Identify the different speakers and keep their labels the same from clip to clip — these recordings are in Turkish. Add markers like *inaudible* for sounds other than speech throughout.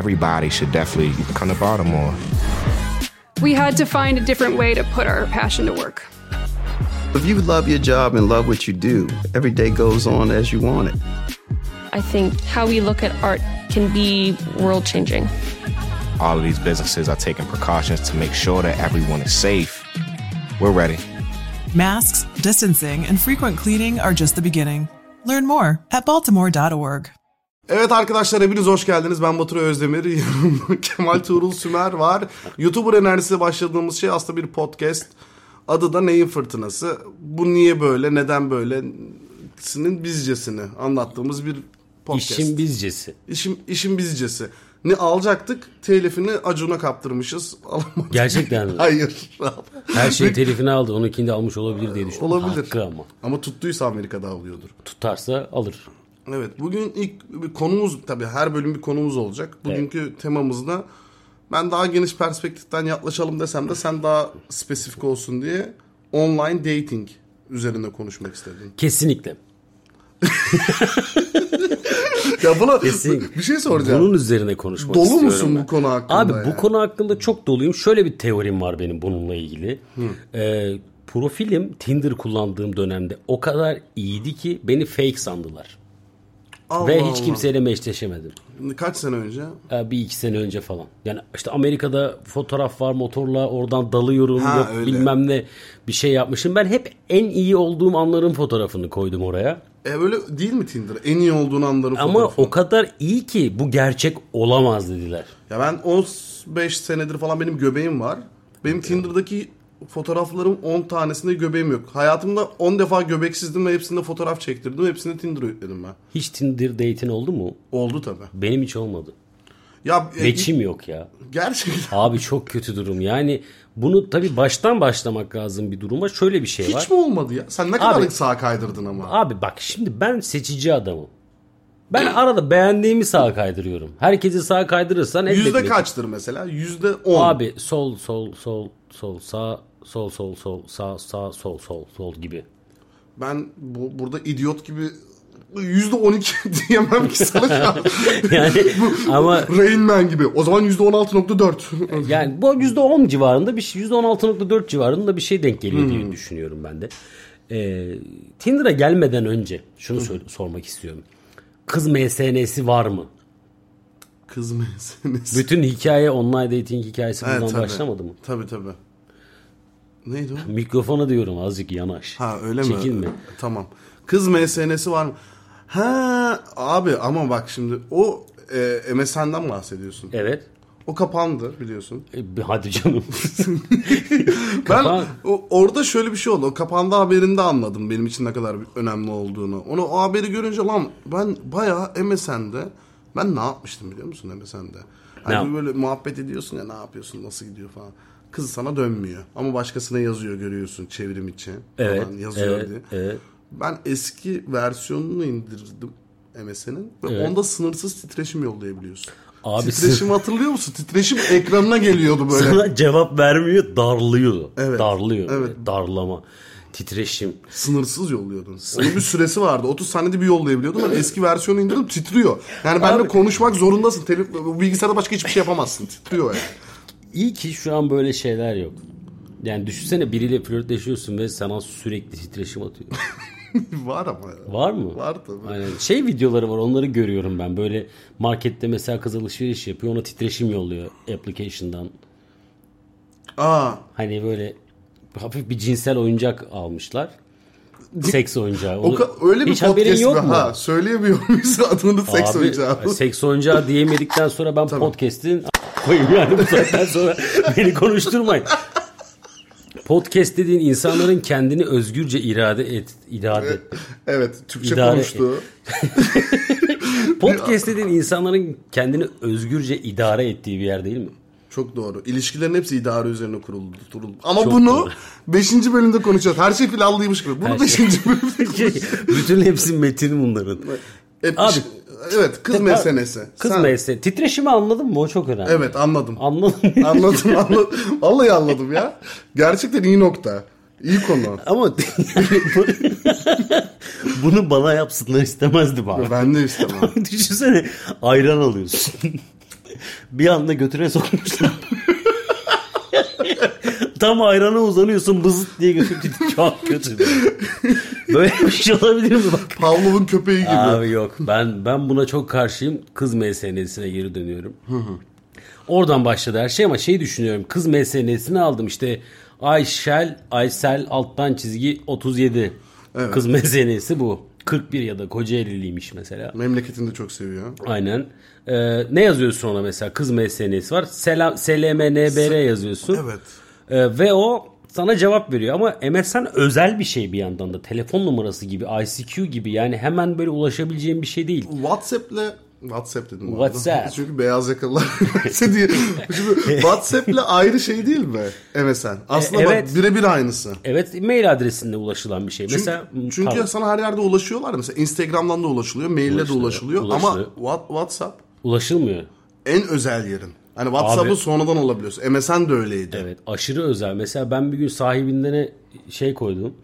Speaker 1: everybody should definitely come to Baltimore.
Speaker 2: We had to find a different way to put our passion to work.
Speaker 3: If you love your job and love what you do, every day goes on as you want it.
Speaker 4: I think how we look at art can be world changing.
Speaker 1: All of these businesses are taking precautions to make sure that everyone is safe. We're ready.
Speaker 5: Masks, distancing, and frequent cleaning are just the beginning. Learn more at baltimore.org.
Speaker 6: Evet arkadaşlar hepiniz hoş geldiniz. Ben Batur Özdemir. *laughs* Yanımda Kemal Tuğrul Sümer var. YouTuber enerjisi başladığımız şey aslında bir podcast. Adı da Neyin Fırtınası. Bu niye böyle, neden böyle? Sinin bizcesini anlattığımız bir podcast.
Speaker 7: İşin bizcesi.
Speaker 6: İşim, işin bizcesi. Ne alacaktık? Telifini Acun'a kaptırmışız. *laughs* Alamadık.
Speaker 7: Gerçekten mi?
Speaker 6: Hayır. *laughs*
Speaker 7: Her şey telifini aldı. Onunkini de almış olabilir diye düşündüm.
Speaker 6: Olabilir.
Speaker 7: Hakkı ama.
Speaker 6: Ama tuttuysa Amerika'da alıyordur.
Speaker 7: Tutarsa alır.
Speaker 6: Evet bugün ilk bir konumuz tabii her bölüm bir konumuz olacak. Bugünkü temamızda ben daha geniş perspektiften yaklaşalım desem de sen daha spesifik olsun diye online dating üzerinde konuşmak istedim.
Speaker 7: Kesinlikle.
Speaker 6: ya buna
Speaker 7: Kesinlikle.
Speaker 6: bir şey soracağım.
Speaker 7: Bunun üzerine konuşmak
Speaker 6: Dolu
Speaker 7: istiyorum.
Speaker 6: musun
Speaker 7: ben.
Speaker 6: bu konu hakkında
Speaker 7: Abi
Speaker 6: ya?
Speaker 7: bu konu hakkında çok doluyum. Şöyle bir teorim var benim bununla ilgili. Ee, profilim Tinder kullandığım dönemde o kadar iyiydi ki beni fake sandılar.
Speaker 6: Allah
Speaker 7: Ve
Speaker 6: Allah.
Speaker 7: hiç kimseyle meşleşemedim.
Speaker 6: Kaç sene önce?
Speaker 7: Ee, bir iki sene önce falan. Yani işte Amerika'da fotoğraf var motorla oradan dalıyorum
Speaker 6: Ha,
Speaker 7: yok
Speaker 6: öyle.
Speaker 7: bilmem ne bir şey yapmışım. Ben hep en iyi olduğum anların fotoğrafını koydum oraya.
Speaker 6: E böyle değil mi Tinder? En iyi olduğun anların
Speaker 7: Ama
Speaker 6: fotoğrafı.
Speaker 7: o kadar iyi ki bu gerçek olamaz dediler.
Speaker 6: Ya ben 15 senedir falan benim göbeğim var. Benim Tinder'daki fotoğraflarım 10 tanesinde göbeğim yok. Hayatımda 10 defa göbeksizdim ve hepsinde fotoğraf çektirdim. Hepsini Tinder'a yükledim ben.
Speaker 7: Hiç Tinder date'in oldu mu?
Speaker 6: Oldu tabii.
Speaker 7: Benim hiç olmadı.
Speaker 6: Ya e,
Speaker 7: Veçim yok ya.
Speaker 6: gerçekten
Speaker 7: Abi çok kötü durum. Yani bunu tabii baştan başlamak lazım bir duruma. Şöyle bir şey var.
Speaker 6: hiç mi olmadı ya? Sen ne kadar
Speaker 7: Abi-
Speaker 6: sağa kaydırdın ama.
Speaker 7: Abi bak şimdi ben seçici adamım. Ben arada beğendiğimi sağa kaydırıyorum. Herkesi sağa kaydırırsan elbette.
Speaker 6: Yüzde kaçtır mesela? Yüzde 10.
Speaker 7: Abi sol sol sol sol sağ sol sol sol sağ sağ sol sol sol gibi. *laughs*
Speaker 6: Ben bu, burada idiot gibi yüzde 12 *laughs* diyemem ki sana. şu
Speaker 7: *laughs*
Speaker 6: an.
Speaker 7: Yani ama
Speaker 6: Rain Man gibi. O zaman yüzde 16.4.
Speaker 7: yani bu %10 civarında bir şey %16.4 civarında bir şey denk geliyor
Speaker 6: Hmm.
Speaker 7: diye düşünüyorum ben de. Ee, Tinder'a gelmeden önce şunu
Speaker 6: Hmm.
Speaker 7: söyle- sormak istiyorum. Kız MSN'si var mı?
Speaker 6: Kız meselesi.
Speaker 7: Bütün hikaye online dating hikayesi
Speaker 6: Evet,
Speaker 7: buradan başlamadı mı?
Speaker 6: Tabii tabii. Neydi o?
Speaker 7: Mikrofona diyorum azıcık yanaş.
Speaker 6: Ha öyle mi?
Speaker 7: Çekinme.
Speaker 6: Tamam. Kız MSN'si var mı? Ha abi ama bak şimdi o e, MSN'den bahsediyorsun.
Speaker 7: Evet.
Speaker 6: O kapandı biliyorsun.
Speaker 7: E, bir-
Speaker 6: *laughs*
Speaker 7: hadi canım.
Speaker 6: Ben
Speaker 7: Kapan-
Speaker 6: o- orada şöyle bir şey oldu. O kapandı haberinde anladım benim için ne kadar önemli olduğunu. Onu o haberi görünce lan ben bayağı MSN'de ben ne yapmıştım biliyor musun MSN'de?
Speaker 7: Ne
Speaker 6: Hani
Speaker 7: yap-
Speaker 6: böyle muhabbet ediyorsun ya ne yapıyorsun nasıl gidiyor falan. Kız sana dönmüyor ama başkasına yazıyor görüyorsun çevrim içi.
Speaker 7: evet.
Speaker 6: Falan yazıyor
Speaker 7: evet,
Speaker 6: diye.
Speaker 7: evet.
Speaker 6: Ben eski versiyonunu indirdim MSN'in ve onda sınırsız titreşim yollayabiliyorsun.
Speaker 7: Abi
Speaker 6: titreşim hatırlıyor musun? Titreşim ekranına geliyordu
Speaker 7: *laughs*
Speaker 6: böyle.
Speaker 7: Sana cevap vermiyor, darlıyor.
Speaker 6: Evet,
Speaker 7: Darlıyor.
Speaker 6: evet.
Speaker 7: Darlama. Titreşim.
Speaker 6: sınırsız yolluyordun. Onun bir süresi vardı. 30 saniyede bir yollayabiliyordun ama eski versiyonu indirdim titriyor. Yani benimle konuşmak zorundasın. Tele- bu bilgisayarda başka hiçbir şey yapamazsın. Titriyor yani.
Speaker 7: İyi ki şu an böyle şeyler yok. Yani düşünsene biriyle flörtleşiyorsun ve sana sürekli
Speaker 6: *laughs*
Speaker 7: titreşim atıyor.
Speaker 6: *laughs* Var ama.
Speaker 7: Var mı?
Speaker 6: Var tabii.
Speaker 7: Aynen. Şey videoları var onları görüyorum ben. Böyle markette mesela kız alışveriş yapıyor ona titreşim yolluyor application'dan.
Speaker 6: Aa,
Speaker 7: Hani böyle hafif bir cinsel oyuncak almışlar. Seks oyuncağı.
Speaker 6: o ka- öyle bir
Speaker 7: Hiç haberin
Speaker 6: podcast
Speaker 7: yok
Speaker 6: mi?
Speaker 7: mu?
Speaker 6: Ha, söyleyemiyor muyuz *laughs* adını seks
Speaker 7: Abi,
Speaker 6: oyuncağı?
Speaker 7: Seks oyuncağı diyemedikten sonra ben podcast'in a- koyayım yani bu
Speaker 6: *laughs*
Speaker 7: saatten sonra beni konuşturmayın. Podcast dediğin insanların kendini özgürce irade et, irade.
Speaker 6: Evet, Türkçe
Speaker 7: İdare-
Speaker 6: konuştu.
Speaker 7: Podcast dediğin insanların kendini özgürce idare ettiği bir yer değil
Speaker 6: *laughs*
Speaker 7: mi?
Speaker 6: Çok doğru. İlişkilerin hepsi idare üzerine kuruldu. kuruldu. Ama
Speaker 7: Çok
Speaker 6: bunu
Speaker 7: doğru.
Speaker 6: 5. bölümde konuşacağız. Her şey planlıymış gibi. Bunu
Speaker 7: Her
Speaker 6: 5.
Speaker 7: şey. *laughs*
Speaker 6: bölümde
Speaker 7: Bütün hepsi metin bunların.
Speaker 6: Hep-
Speaker 7: Abi.
Speaker 6: Evet, kız meselesi.
Speaker 7: Kız
Speaker 6: Sen-
Speaker 7: meselesi. Titreşimi anladın mı? O çok önemli.
Speaker 6: Evet, anladım.
Speaker 7: Anladım.
Speaker 6: Anladım anladım. Vallahi anladım ya. Gerçekten iyi nokta. İyi konu.
Speaker 7: Ama bu- bunu bana yapsınlar istemezdim abi. *laughs*
Speaker 6: Ben de istemem.
Speaker 7: Düşünsene ayran alıyorsun. bir anda götüne sokmuşlar. *laughs* Tam ayrana uzanıyorsun bızıt diye götür gidiyor. *laughs* Çok kötü. Böyle bir şey olabilir mi bak?
Speaker 6: Pavlov'un köpeği gibi.
Speaker 7: Abi yok. Ben ben buna çok karşıyım. Kız MSN'sine geri dönüyorum. Oradan başladı her şey ama şey düşünüyorum. Kız MSN'sini aldım işte Ayşel, Aysel alttan çizgi 37. Kız MSN'si bu. 41 ya da Kocaeli'liymiş mesela.
Speaker 6: Memleketini de çok seviyor.
Speaker 7: Aynen. Ee, ne yazıyorsun ona mesela? Kız MSN'si var. Selam, SLMNBR yazıyorsun.
Speaker 6: Evet.
Speaker 7: Ee, ve o sana cevap veriyor ama MSN özel bir şey bir yandan da telefon numarası gibi ICQ gibi yani hemen böyle ulaşabileceğin bir şey değil.
Speaker 6: WhatsApp'le WhatsApp dedim. bu arada.
Speaker 7: WhatsApp.
Speaker 6: Çünkü beyaz yakalılar *laughs* üniversite diye. Şimdi WhatsApp'le ayrı şey değil mi? MSN. Aslında
Speaker 7: E,
Speaker 6: bak
Speaker 7: evet.
Speaker 6: birebir aynısı.
Speaker 7: Evet mail adresinde ulaşılan bir şey.
Speaker 6: Çünkü,
Speaker 7: mesela
Speaker 6: çünkü
Speaker 7: pardon,
Speaker 6: sana her yerde ulaşıyorlar. Mesela Instagram'dan da ulaşılıyor, maille de
Speaker 7: Ulaşılıyor,
Speaker 6: ulaşılıyor. Ama
Speaker 7: ulaşılıyor.
Speaker 6: What- WhatsApp
Speaker 7: ulaşılmıyor.
Speaker 6: en özel yerin. Hani WhatsApp'ı
Speaker 7: Abi-
Speaker 6: sonradan olabiliyorsun. MSN de öyleydi.
Speaker 7: Evet aşırı özel. Mesela ben bir gün sahibinden e- şey koydum.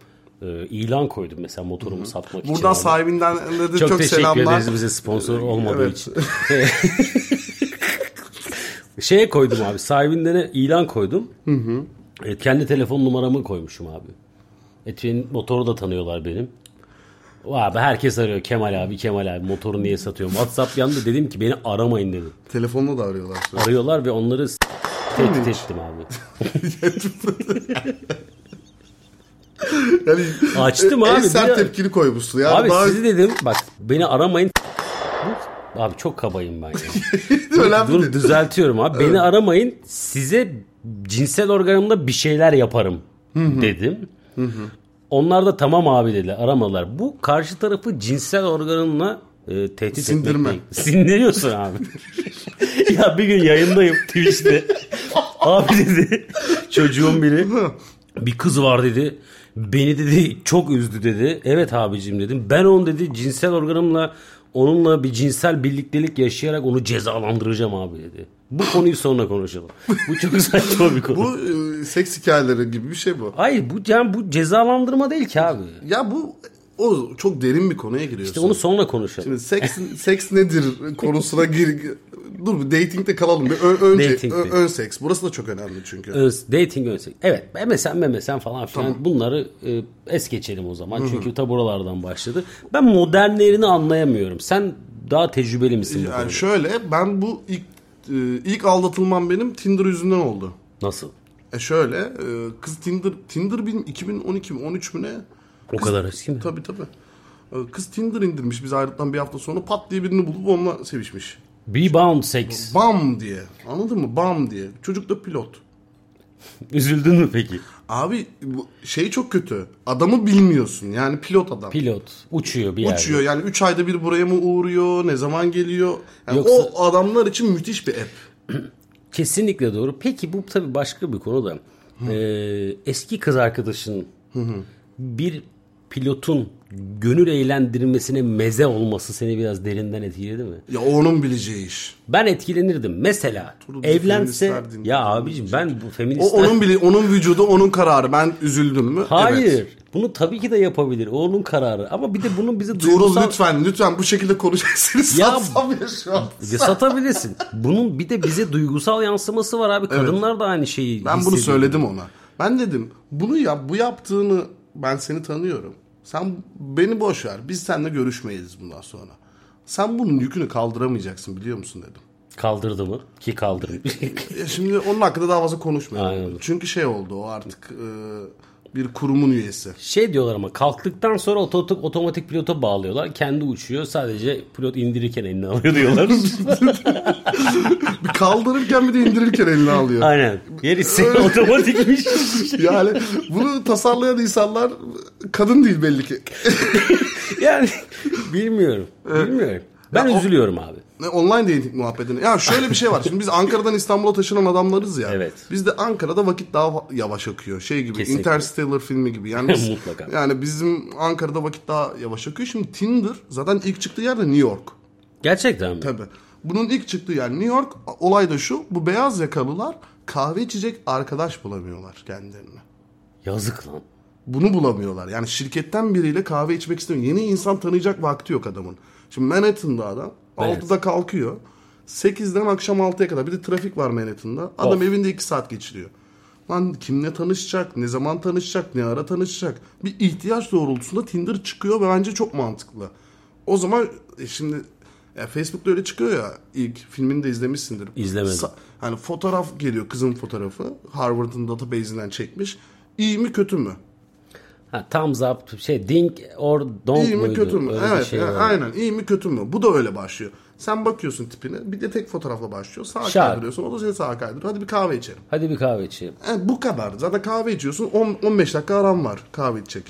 Speaker 7: e, ilan koydum mesela motorumu satmak için.
Speaker 6: Buradan
Speaker 7: abi.
Speaker 6: sahibinden de çok,
Speaker 7: çok, teşekkür
Speaker 6: selamlar. Ee,
Speaker 7: ederiz bize sponsor olmadığı
Speaker 6: Evet.
Speaker 7: için. Şeye koydum abi sahibinden e- ilan koydum. E, kendi telefon numaramı koymuşum abi. Etvi'nin motoru da tanıyorlar benim. Abi herkes arıyor Kemal abi Kemal abi motoru niye satıyor? WhatsApp yandı dedim ki beni aramayın dedim.
Speaker 6: *laughs* Telefonla da arıyorlar. sürekli.
Speaker 7: arıyorlar ve onları s- tehdit ettim abi.
Speaker 6: *laughs* Yani e,
Speaker 7: Açtım
Speaker 6: en
Speaker 7: abi,
Speaker 6: sert
Speaker 7: bir-
Speaker 6: tepkili koymuşsun. Yani
Speaker 7: abi
Speaker 6: daha
Speaker 7: sizi dedim bak beni aramayın. Bu- Abi çok kabayım
Speaker 6: *laughs*
Speaker 7: ben ya.
Speaker 6: önemli
Speaker 7: Dur
Speaker 6: değil. *laughs*
Speaker 7: düzeltiyorum abi. Beni aramayın. Size cinsel organımda bir şeyler yaparım dedim. Onlar da tamam abi dedi. Aramalar. Bu karşı tarafı cinsel organınla e, tehdit
Speaker 6: Sindirme.
Speaker 7: etmek. değil. Sindiriyorsun abi. *laughs* ya bir gün yayındayım
Speaker 6: *laughs*
Speaker 7: Twitch'te. abi dedi. Çocuğum biri. Bir kız var dedi. Beni dedi çok üzdü dedi. Evet abicim dedim. Ben onu dedi cinsel organımla onunla bir cinsel birliktelik yaşayarak onu cezalandıracağım abi dedi. Bu konuyu sonra konuşalım. Bu
Speaker 6: *laughs*
Speaker 7: çok saçma bir konu.
Speaker 6: Bu e, seks hikayeleri gibi bir şey bu.
Speaker 7: Hayır bu yani bu cezalandırma değil ki abi.
Speaker 6: Ya bu o çok derin bir konuya giriyorsun.
Speaker 7: İşte onu sonra konuşalım.
Speaker 6: Şimdi seks seks nedir konusuna gir. Dur bir datingde kalalım. Bir ö- önce
Speaker 7: Datingde.
Speaker 6: ö- ön seks. Burası da çok önemli çünkü.
Speaker 7: Öz- Ee, dating önsek. Evet MSN MSN falan filan bunları e, es geçelim o zaman. Çünkü ta buralardan başladı. Ben modernlerini anlayamıyorum. Sen daha tecrübeli misin bu konuda?
Speaker 6: Yani şöyle ben bu ilk e, ilk aldatılmam benim Tinder yüzünden oldu.
Speaker 7: Nasıl?
Speaker 6: E şöyle e, kız Tinder Tinder benim 2012 mi 13 mü ne?
Speaker 7: O kadar eski mi?
Speaker 6: Tabii tabii. E, Kız Tinder indirmiş biz ayrıldıktan bir hafta sonra pat diye birini bulup onunla sevişmiş.
Speaker 7: Rebound sex.
Speaker 6: Bam diye. Anladın mı? Bam diye. Çocuk da pilot.
Speaker 7: Üzüldün mü peki?
Speaker 6: Abi bu şey çok kötü. Adamı bilmiyorsun. Yani pilot adam.
Speaker 7: Pilot uçuyor bir yerde.
Speaker 6: Uçuyor yani 3 ayda bir buraya mı uğruyor? Ne zaman geliyor? Yani
Speaker 7: Yoksa-
Speaker 6: O adamlar için müthiş bir app.
Speaker 7: Kesinlikle doğru. Peki bu tabii başka bir konu da. Ee, eski kız arkadaşın bir pilotun gönül eğlendirmesine meze olması seni biraz derinden etkiledi mi?
Speaker 6: Ya onun bileceği iş.
Speaker 7: Ben etkilenirdim. Mesela
Speaker 6: bizi
Speaker 7: evlense
Speaker 6: feministler dinliyor.
Speaker 7: ya abicim ben bu
Speaker 6: O
Speaker 7: feminist
Speaker 6: onun bile onun vücudu onun kararı. Ben üzüldüm mü?
Speaker 7: Hayır.
Speaker 6: Evet.
Speaker 7: Bunu tabii ki de yapabilir. O onun kararı. Ama bir de bunun bize
Speaker 6: Tuğrul
Speaker 7: duygusal
Speaker 6: lütfen lütfen bu şekilde konuşacaksınız.
Speaker 7: Ya-
Speaker 6: Satsam ya şu an.
Speaker 7: Ya satabilirsin. Bunun bir de bize duygusal yansıması var abi. Kadınlar da aynı şeyi
Speaker 6: Ben bunu
Speaker 7: hissediyor.
Speaker 6: söyledim ona. Ben dedim bunu yap bu yaptığını ben seni tanıyorum. Sen beni boş ver. Biz seninle görüşmeyiz bundan sonra. Sen bunun yükünü kaldıramayacaksın biliyor musun
Speaker 7: *laughs*
Speaker 6: dedim.
Speaker 7: Kaldırdı mı? Ki kaldırdı.
Speaker 6: Ya şimdi onun hakkında daha fazla konuşmayalım.
Speaker 7: Aynen.
Speaker 6: Çünkü şey oldu o artık e, bir kurumun üyesi. *laughs*
Speaker 7: şey diyorlar ama kalktıktan sonra otomatik, otomatik pilota bağlıyorlar. Kendi uçuyor. Sadece pilot indirirken elini
Speaker 6: *laughs*
Speaker 7: alıyor diyorlar.
Speaker 6: Bir kaldırırken bir de indirirken elini alıyor.
Speaker 7: Aynen. Gerisi otomatikmiş.
Speaker 6: *laughs* Yani bunu tasarlayan insanlar kadın değil belli ki.
Speaker 7: yani bilmiyorum. Bilmiyorum. Ben üzülüyorum abi.
Speaker 6: Ne, Online dating muhabbetini. Ya şöyle bir şey var. Şimdi biz Ankara'dan İstanbul'a taşınan adamlarız ya.
Speaker 7: Evet.
Speaker 6: Biz de Ankara'da vakit daha fa- yavaş akıyor. Şey gibi
Speaker 7: Kesinlikle.
Speaker 6: Interstellar filmi gibi. Yani biz-
Speaker 7: *laughs* Mutlaka.
Speaker 6: Yani bizim Ankara'da vakit daha yavaş akıyor. Şimdi Tinder zaten ilk çıktığı yer de New York.
Speaker 7: Gerçekten mi?
Speaker 6: Tabii. Bunun ilk çıktığı yer New York. Olay da şu. Bu beyaz yakalılar kahve içecek arkadaş bulamıyorlar kendilerine.
Speaker 7: Yazık lan.
Speaker 6: Bunu bulamıyorlar. Yani şirketten biriyle kahve içmek istemiyor. Yeni insan tanıyacak vakti yok adamın. Şimdi Manhattan'da adam
Speaker 7: Evet.
Speaker 6: 6'da kalkıyor. 8'den akşam 6'ya kadar. Bir de trafik var Manhattan'da. Adam
Speaker 7: Of.
Speaker 6: evinde 2 saat geçiriyor. Lan kimle tanışacak, ne zaman tanışacak, ne ara tanışacak? Bir ihtiyaç doğrultusunda Tinder çıkıyor ve bence çok mantıklı. O zaman e, şimdi ya Facebook'ta öyle çıkıyor ya ilk filmini de izlemişsindir.
Speaker 7: İzlemedim.
Speaker 6: hani fotoğraf geliyor kızın fotoğrafı Harvard'ın database'inden çekmiş. İyi mi kötü mü?
Speaker 7: Ha, thumbs up şey ding or don't
Speaker 6: İyi mi
Speaker 7: muydu?
Speaker 6: kötü mü?
Speaker 7: Öyle bir
Speaker 6: evet
Speaker 7: şey
Speaker 6: e,
Speaker 7: var.
Speaker 6: aynen iyi mi kötü mü? Bu da öyle başlıyor. Sen bakıyorsun tipine bir de tek fotoğrafla başlıyor. Sağa
Speaker 7: Şak.
Speaker 6: kaydırıyorsun o da seni sağa kaydırıyor. Hadi bir kahve içelim.
Speaker 7: Hadi bir kahve içelim.
Speaker 6: E, bu kadar. Zaten kahve içiyorsun on- 15 dakika aram var kahve içecek.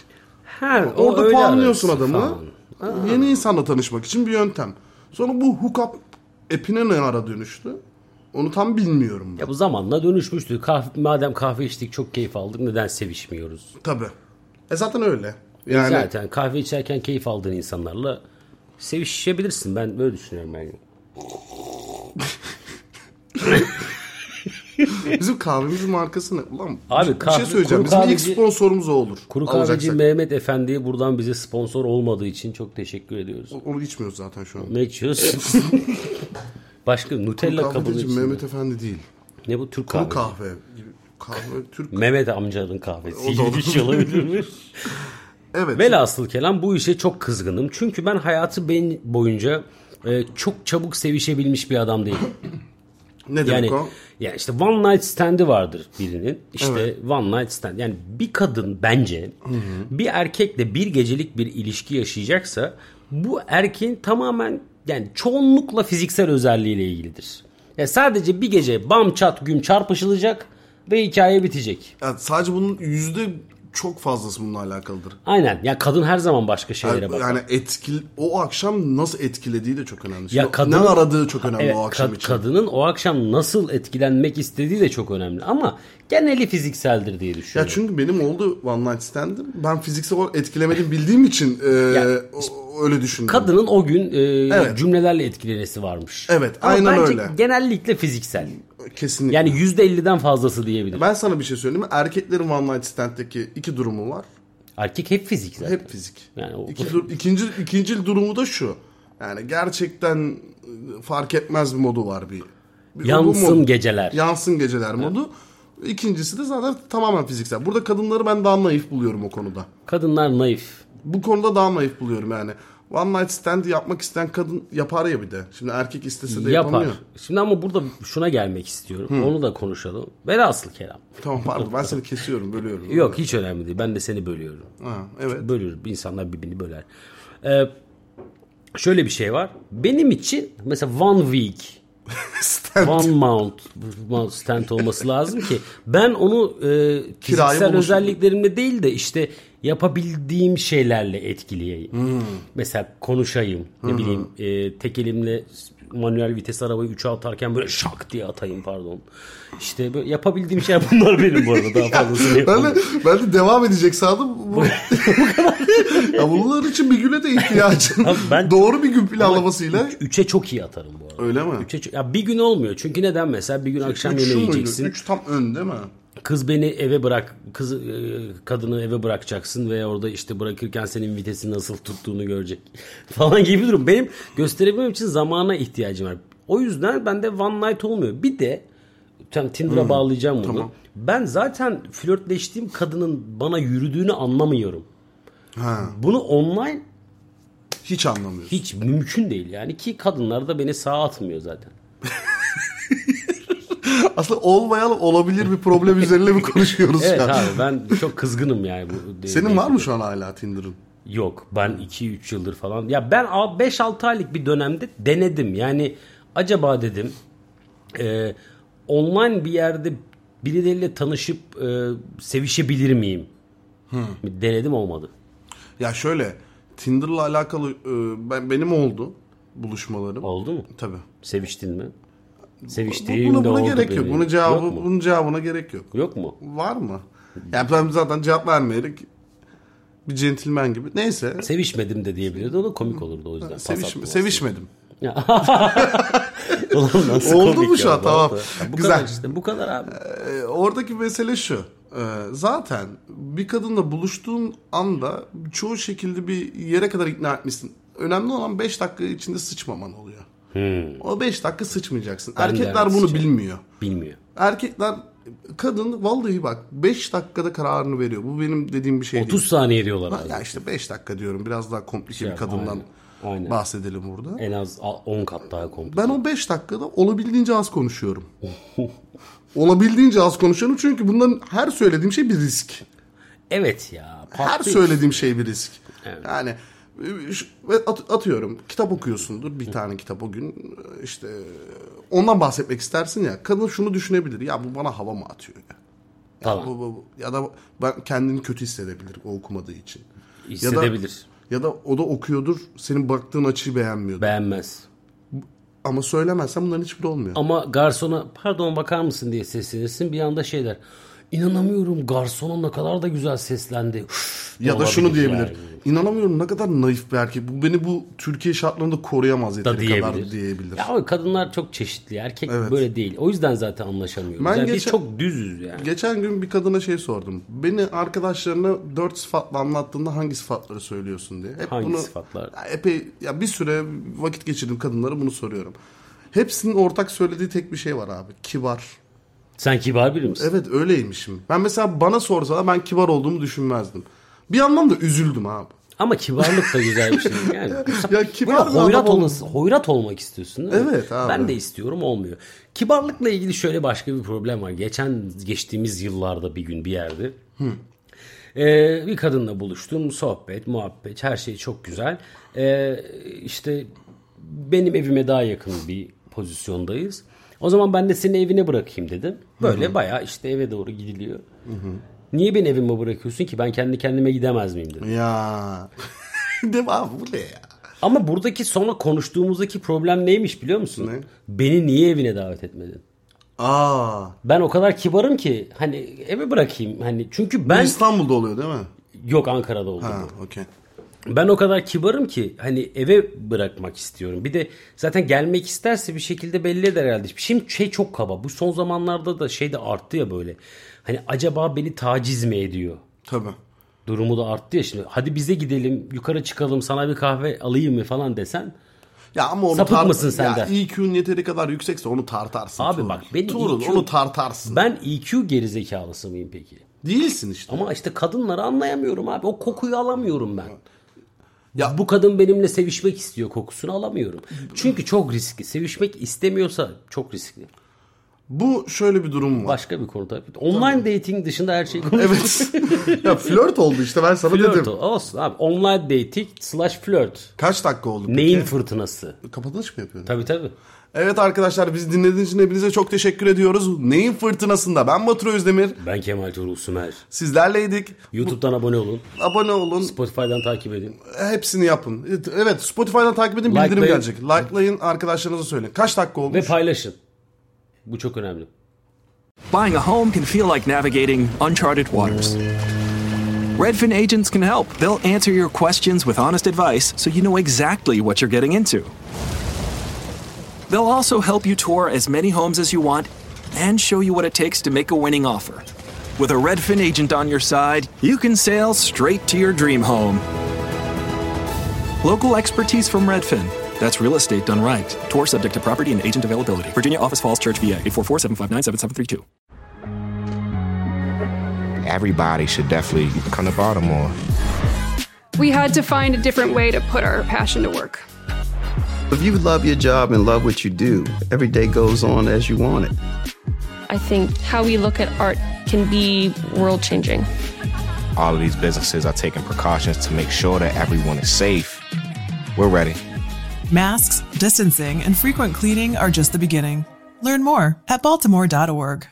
Speaker 7: Ha, o
Speaker 6: Orada
Speaker 7: öyle
Speaker 6: puanlıyorsun
Speaker 7: arası
Speaker 6: adamı.
Speaker 7: falan.
Speaker 6: Yeni insanla tanışmak için bir yöntem. Sonra bu hookup app'ine ne ara dönüştü? Onu tam bilmiyorum ben.
Speaker 7: Ya bu zamanla dönüşmüştü. Kahve, madem kahve içtik çok keyif aldık neden sevişmiyoruz?
Speaker 6: Tabii. E zaten öyle. Yani
Speaker 7: Zaten kahve içerken keyif aldığın insanlarla sevişebilirsin. Ben böyle düşünüyorum yani.
Speaker 6: bizim kahvemizin markası ne? Ulan
Speaker 7: Abi
Speaker 6: bir
Speaker 7: kahve-
Speaker 6: şey söyleyeceğim.
Speaker 7: kuru
Speaker 6: Bizim ilk
Speaker 7: kahveci-
Speaker 6: sponsorumuz o olur.
Speaker 7: Kuru kahveci
Speaker 6: Alacaksak.
Speaker 7: Mehmet Efendi'ye buradan bize sponsor olmadığı için çok teşekkür ediyoruz.
Speaker 6: Onu içmiyoruz zaten şu an.
Speaker 7: Ne
Speaker 6: *laughs*
Speaker 7: içiyorsun? Başka
Speaker 6: Kuru
Speaker 7: Nutella kabını
Speaker 6: kahveci
Speaker 7: içinde.
Speaker 6: Mehmet Efendi değil.
Speaker 7: Ne bu Türk
Speaker 6: Kuru
Speaker 7: kahvesi?
Speaker 6: kahve. gibi- Kahve Türk.
Speaker 7: Mehmet amcanın kahvesi.
Speaker 6: O da olur.
Speaker 7: Bir şey
Speaker 6: *laughs*
Speaker 7: olabilir mi?
Speaker 6: Evet.
Speaker 7: Velhasıl kelam bu işe çok kızgınım. Çünkü ben hayatı ben boyunca e, çok çabuk sevişebilmiş bir adam değilim.
Speaker 6: ne demek
Speaker 7: Yani
Speaker 6: o?
Speaker 7: yani işte one night stand'i vardır birinin. İşte
Speaker 6: Evet.
Speaker 7: one night stand. Yani bir kadın bence bir erkekle bir gecelik bir ilişki yaşayacaksa bu erkeğin tamamen yani çoğunlukla fiziksel özelliğiyle ilgilidir. Yani sadece bir gece bam çat güm çarpışılacak ve hikaye bitecek.
Speaker 6: Yani sadece bunun yüzde çok fazlası bununla alakalıdır.
Speaker 7: Aynen. Ya kadın her zaman başka şeylere
Speaker 6: Yani,
Speaker 7: bakar.
Speaker 6: yani etkil o akşam nasıl etkilediği de çok önemli. Şimdi
Speaker 7: Ya kadının-
Speaker 6: ne aradığı çok önemli
Speaker 7: Evet,
Speaker 6: o akşam
Speaker 7: kad-
Speaker 6: için.
Speaker 7: Kadının o akşam nasıl etkilenmek istediği de çok önemli ama geneli fizikseldir diye
Speaker 6: Ya
Speaker 7: düşünüyorum.
Speaker 6: çünkü benim oldu one night stand'im. Ben fiziksel olarak etkilemedim bildiğim için e,
Speaker 7: Ya,
Speaker 6: o- öyle düşündüm.
Speaker 7: Kadının o gün e,
Speaker 6: Evet.
Speaker 7: cümlelerle etkilenesi varmış.
Speaker 6: Evet,
Speaker 7: Ama
Speaker 6: aynen
Speaker 7: bence
Speaker 6: öyle.
Speaker 7: genellikle fiziksel.
Speaker 6: Kesinlikle.
Speaker 7: Yani %50'den fazlası diyebilirim.
Speaker 6: ben sana bir şey söyleyeyim mi? Erkeklerin one night stand'deki iki durumu var.
Speaker 7: Erkek hep fiziksel.
Speaker 6: Hep fizik.
Speaker 7: Yani o-
Speaker 6: İki dur- ikinci ikinci durumu da şu. Yani gerçekten e, fark etmez bir modu var bir. bir
Speaker 7: Yansın
Speaker 6: bu modu-
Speaker 7: geceler.
Speaker 6: Yansın geceler modu. İkincisi de zaten tamamen fiziksel. Burada kadınları ben daha naif buluyorum o konuda.
Speaker 7: Kadınlar naif.
Speaker 6: Bu konuda daha naif buluyorum yani. One night stand yapmak isteyen kadın yapar ya bir de. Şimdi erkek istese de
Speaker 7: Yapar.
Speaker 6: yapamıyor.
Speaker 7: Şimdi ama burada şuna gelmek istiyorum. Onu da konuşalım. Velhasıl kelam.
Speaker 6: Tamam pardon ben seni kesiyorum
Speaker 7: *laughs*
Speaker 6: bölüyorum.
Speaker 7: Yok hiç önemli değil. Ben de seni bölüyorum.
Speaker 6: Ha, evet.
Speaker 7: Bölür. İnsanlar birbirini böler. Ee, şöyle bir şey var. Benim için mesela one week
Speaker 6: Stand.
Speaker 7: one mount mount stand olması lazım ki ben onu e, fiziksel
Speaker 6: buluşun.
Speaker 7: özelliklerimle değil de işte yapabildiğim şeylerle etkileyeyim.
Speaker 6: Hmm.
Speaker 7: Mesela konuşayım. Ne bileyim e, tek elimle manuel vites arabayı 3'e atarken böyle şak diye atayım pardon. İşte böyle yapabildiğim şeyler bunlar benim
Speaker 6: *laughs*
Speaker 7: bu arada daha fazlasını
Speaker 6: Ben de,
Speaker 7: yapamam.
Speaker 6: ben de devam edecek sandım. Bu, ya bunlar için bir güne de ihtiyacın.
Speaker 7: Abi ben-
Speaker 6: Doğru bir gün planlamasıyla.
Speaker 7: 3'e çok iyi atarım bu arada.
Speaker 6: Öyle mi?
Speaker 7: Üçe çok- ya bir gün olmuyor. Çünkü neden mesela bir gün akşam
Speaker 6: Üç şu
Speaker 7: yemeği
Speaker 6: muydu?
Speaker 7: yiyeceksin.
Speaker 6: Üç tam ön değil mi?
Speaker 7: Kız beni eve bırak, kız e, kadını eve bırakacaksın ve orada işte bırakırken senin vitesi nasıl tuttuğunu görecek *laughs* falan gibi bir durum. Benim gösterebilmem için zamana ihtiyacım var. O yüzden bende one night olmuyor. Bir de tam Tinder'a
Speaker 6: Hmm,
Speaker 7: bağlayacağım bunu. Ben zaten flörtleştiğim kadının bana yürüdüğünü anlamıyorum.
Speaker 6: Ha,
Speaker 7: Bunu online
Speaker 6: hiç anlamıyorsun.
Speaker 7: hiç mümkün değil yani ki kadınlar da beni sağa atmıyor zaten.
Speaker 6: Aslında olmayan olabilir bir
Speaker 7: *laughs*
Speaker 6: problem üzerine mi konuşuyoruz
Speaker 7: Evet
Speaker 6: şu an?
Speaker 7: abi ben çok kızgınım yani. Bu,
Speaker 6: Senin var mı şu an hala Tinder'ın?
Speaker 7: Yok ben 2-3 yıldır falan. Ya ben 5-6 aylık bir dönemde denedim. Yani acaba dedim e, online bir yerde birileriyle tanışıp e, sevişebilir miyim? Denedim olmadı.
Speaker 6: Ya şöyle Tinder'la alakalı e, ben benim oldu buluşmalarım.
Speaker 7: Oldu mu?
Speaker 6: Tabii.
Speaker 7: Seviştin mi?
Speaker 6: Bu-
Speaker 7: Seviştiğim
Speaker 6: Buna,
Speaker 7: de
Speaker 6: buna
Speaker 7: oldu
Speaker 6: gerek yok.
Speaker 7: benim.
Speaker 6: Bunun cevabı
Speaker 7: Yok mu?
Speaker 6: bunun cevabına gerek yok.
Speaker 7: Yok mu?
Speaker 6: Var mı? Yani ben zaten cevap vermeyerek bir centilmen gibi. Neyse.
Speaker 7: Sevişmedim de diyebilirdi. O da komik olurdu o yüzden. Pas
Speaker 6: Seviş,
Speaker 7: atmaz. *laughs*
Speaker 6: sevişmedim.
Speaker 7: Ya. Ulan nasıl
Speaker 6: Oldu
Speaker 7: komik
Speaker 6: mu
Speaker 7: ya
Speaker 6: şu an?
Speaker 7: bu
Speaker 6: Tamam.
Speaker 7: arada? Ya Bu
Speaker 6: Güzel.
Speaker 7: kadar işte. Bu kadar abi.
Speaker 6: Ee, oradaki mesele şu. Ee, zaten bir kadınla buluştuğun anda çoğu şekilde bir yere kadar ikna etmişsin. Önemli olan 5 dakika içinde sıçmaman oluyor. O 5 dakika sıçmayacaksın.
Speaker 7: Hmm. Ben de
Speaker 6: Erkekler
Speaker 7: evet
Speaker 6: bunu
Speaker 7: sıçarım.
Speaker 6: bilmiyor.
Speaker 7: Bilmiyor.
Speaker 6: Erkekler kadın vallahi bak 5 dakikada kararını veriyor. Bu benim dediğim bir şey
Speaker 7: 30 saniye diyorlar.
Speaker 6: değil.
Speaker 7: abi.
Speaker 6: Ya işte 5 dakika diyorum. Biraz daha komplike
Speaker 7: Şey
Speaker 6: bir
Speaker 7: yap,
Speaker 6: kadından
Speaker 7: aynen, aynen.
Speaker 6: bahsedelim burada.
Speaker 7: En az a- 10 kat daha komple.
Speaker 6: Ben o 5 dakikada olabildiğince az konuşuyorum. olabildiğince az konuşuyorum çünkü bundan her söylediğim şey bir risk.
Speaker 7: Evet ya.
Speaker 6: Her
Speaker 7: patlıyor.
Speaker 6: söylediğim şey bir risk. Yani e, şu- ve at- atıyorum kitap okuyorsundur bir tane kitap o gün e, işte e, ondan bahsetmek istersin ya kadın şunu düşünebilir ya bu bana hava mı atıyor ya,
Speaker 7: Tamam.
Speaker 6: Bu- bu- bu- ya da ben kendini kötü hissedebilir o okumadığı için ya da,
Speaker 7: Hissedebilir.
Speaker 6: ya da o da okuyordur senin baktığın açıyı beğenmiyordur
Speaker 7: Beğenmez.
Speaker 6: ama söylemezsen bunların hiçbiri olmuyor
Speaker 7: Ama garsona pardon bakar mısın diye seslenirsin. Bir anda şeyler. İnanamıyorum garsona ne kadar da güzel seslendi. Üf,
Speaker 6: ya da
Speaker 7: olabilir
Speaker 6: şunu diyebilir
Speaker 7: yani.
Speaker 6: inanamıyorum ne kadar naif bir erkek bu beni bu Türkiye şartlarında koruyamaz
Speaker 7: Da
Speaker 6: yeteri kadar
Speaker 7: diyebilir.
Speaker 6: diyebilir
Speaker 7: Ya ama kadınlar çok çeşitli. Erkek böyle değil. O yüzden zaten anlaşamıyoruz.
Speaker 6: Ben
Speaker 7: Yani Biz
Speaker 6: geçen-
Speaker 7: çok düzüz yani.
Speaker 6: Geçen gün bir kadına şey sordum. Beni arkadaşlarına dört sıfatla anlattığında hangi sıfatları söylüyorsun diye. Hep
Speaker 7: Hangi sıfatlar?
Speaker 6: Ya epey ya bir süre vakit geçirdim kadınlara bunu soruyorum. Hepsinin ortak söylediği tek bir şey var abi. Kibar.
Speaker 7: Sen kibar biri misin?
Speaker 6: Evet öyleymişim. Ben mesela bana sorsalar ben kibar olduğumu düşünmezdim. Bir yandan da üzüldüm abi.
Speaker 7: Ama kibarlık da
Speaker 6: *laughs*
Speaker 7: güzel bir şey. Yani
Speaker 6: Ya kibar
Speaker 7: Böyle
Speaker 6: bir
Speaker 7: hoyrat,
Speaker 6: adam ol-
Speaker 7: olması, hoyrat olmak istiyorsun değil mi?
Speaker 6: Evet abi.
Speaker 7: Ben de istiyorum olmuyor. Kibarlıkla ilgili şöyle başka bir problem var. Geçen geçtiğimiz yıllarda bir gün bir yerde ee, bir kadınla buluştum. Sohbet, muhabbet her şey çok güzel. Ee, işte benim evime daha yakın bir pozisyondayız. O zaman ben de seni evine bırakayım dedim. Böyle bayağı işte eve doğru gidiliyor. Niye beni evime bırakıyorsun ki? Ben kendi kendime gidemez miyim dedim.
Speaker 6: *laughs* Ya. Değil mi abi bu ne ya?
Speaker 7: Ama buradaki sonra konuştuğumuzdaki problem neymiş biliyor musun? Beni niye evine davet etmedin?
Speaker 6: Aa.
Speaker 7: Ben o kadar kibarım ki hani eve bırakayım hani çünkü ben
Speaker 6: İstanbul'da oluyor değil mi?
Speaker 7: yok Ankara'da oldum.
Speaker 6: Ha okey.
Speaker 7: Ben o kadar kibarım ki hani eve bırakmak istiyorum. Bir de zaten gelmek isterse bir şekilde belli eder herhalde. Şimdi şey çok kaba. Bu son zamanlarda da şey de arttı ya böyle. Hani acaba beni taciz mi ediyor?
Speaker 6: Tabii.
Speaker 7: Durumu da arttı ya şimdi. Hadi bize gidelim, yukarı çıkalım, sana bir kahve alayım mı falan desen.
Speaker 6: Ya ama onu
Speaker 7: Sapık mısın sen
Speaker 6: ya
Speaker 7: de?
Speaker 6: IQ'un yeteri kadar yüksekse onu tartarsın.
Speaker 7: Abi
Speaker 6: Tuğrul.
Speaker 7: bak benim
Speaker 6: Tuğrul,
Speaker 7: IQ
Speaker 6: onu tartarsın.
Speaker 7: Ben EQ gerizekalısı mıyım peki?
Speaker 6: Değilsin işte.
Speaker 7: Ama işte kadınları anlayamıyorum abi. O kokuyu alamıyorum ben.
Speaker 6: Ya-
Speaker 7: Ya bu kadın benimle sevişmek istiyor kokusunu alamıyorum. Çünkü çok riskli. Sevişmek istemiyorsa çok riskli.
Speaker 6: Bu şöyle bir durum var.
Speaker 7: Başka bir konu tabii. Online dating dışında her şey konuşuyoruz. *laughs*
Speaker 6: Evet. ya flört oldu işte ben sana
Speaker 7: Flört
Speaker 6: dedim.
Speaker 7: o. olsun abi. Online dating slash flört.
Speaker 6: Kaç dakika oldu peki?
Speaker 7: Neyin fırtınası?
Speaker 6: Kapanış mı yapıyorsun?
Speaker 7: Tabii tabii.
Speaker 6: Evet arkadaşlar biz dinlediğiniz için hepinize çok teşekkür ediyoruz. Neyin fırtınasında ben Batur Özdemir.
Speaker 7: Ben Kemal Tuğrul Sümer.
Speaker 6: Sizlerleydik.
Speaker 7: YouTube'dan abone olun.
Speaker 6: Abone olun.
Speaker 7: Spotify'dan takip edin.
Speaker 6: Hepsini yapın. Evet Spotify'dan takip edin bildirim
Speaker 7: Likelayın.
Speaker 6: gelecek. Likelayın arkadaşlarınıza söyleyin. Kaç dakika olmuş?
Speaker 7: Ve paylaşın. Bu çok önemli.
Speaker 8: Buying a home can feel like navigating uncharted waters. Redfin agents can help. They'll answer your questions with honest advice so you know exactly what you're getting into. They'll also help you tour as many homes as you want and show you what it takes to make a winning offer. With a Redfin agent on your side, you can sail straight to your dream home. Local expertise from Redfin. That's real estate done right. Tour subject to property and agent availability. Virginia Office Falls Church, VA 844 759 7732.
Speaker 1: Everybody should definitely come to Baltimore.
Speaker 2: We had to find a different way to put our passion to work.
Speaker 3: If you love your job and love what you do, every day goes on as you want it.
Speaker 4: I think how we look at art can be world changing.
Speaker 1: All of these businesses are taking precautions to make sure that everyone is safe. We're ready.
Speaker 5: Masks, distancing, and frequent cleaning are just the beginning. Learn more at baltimore.org.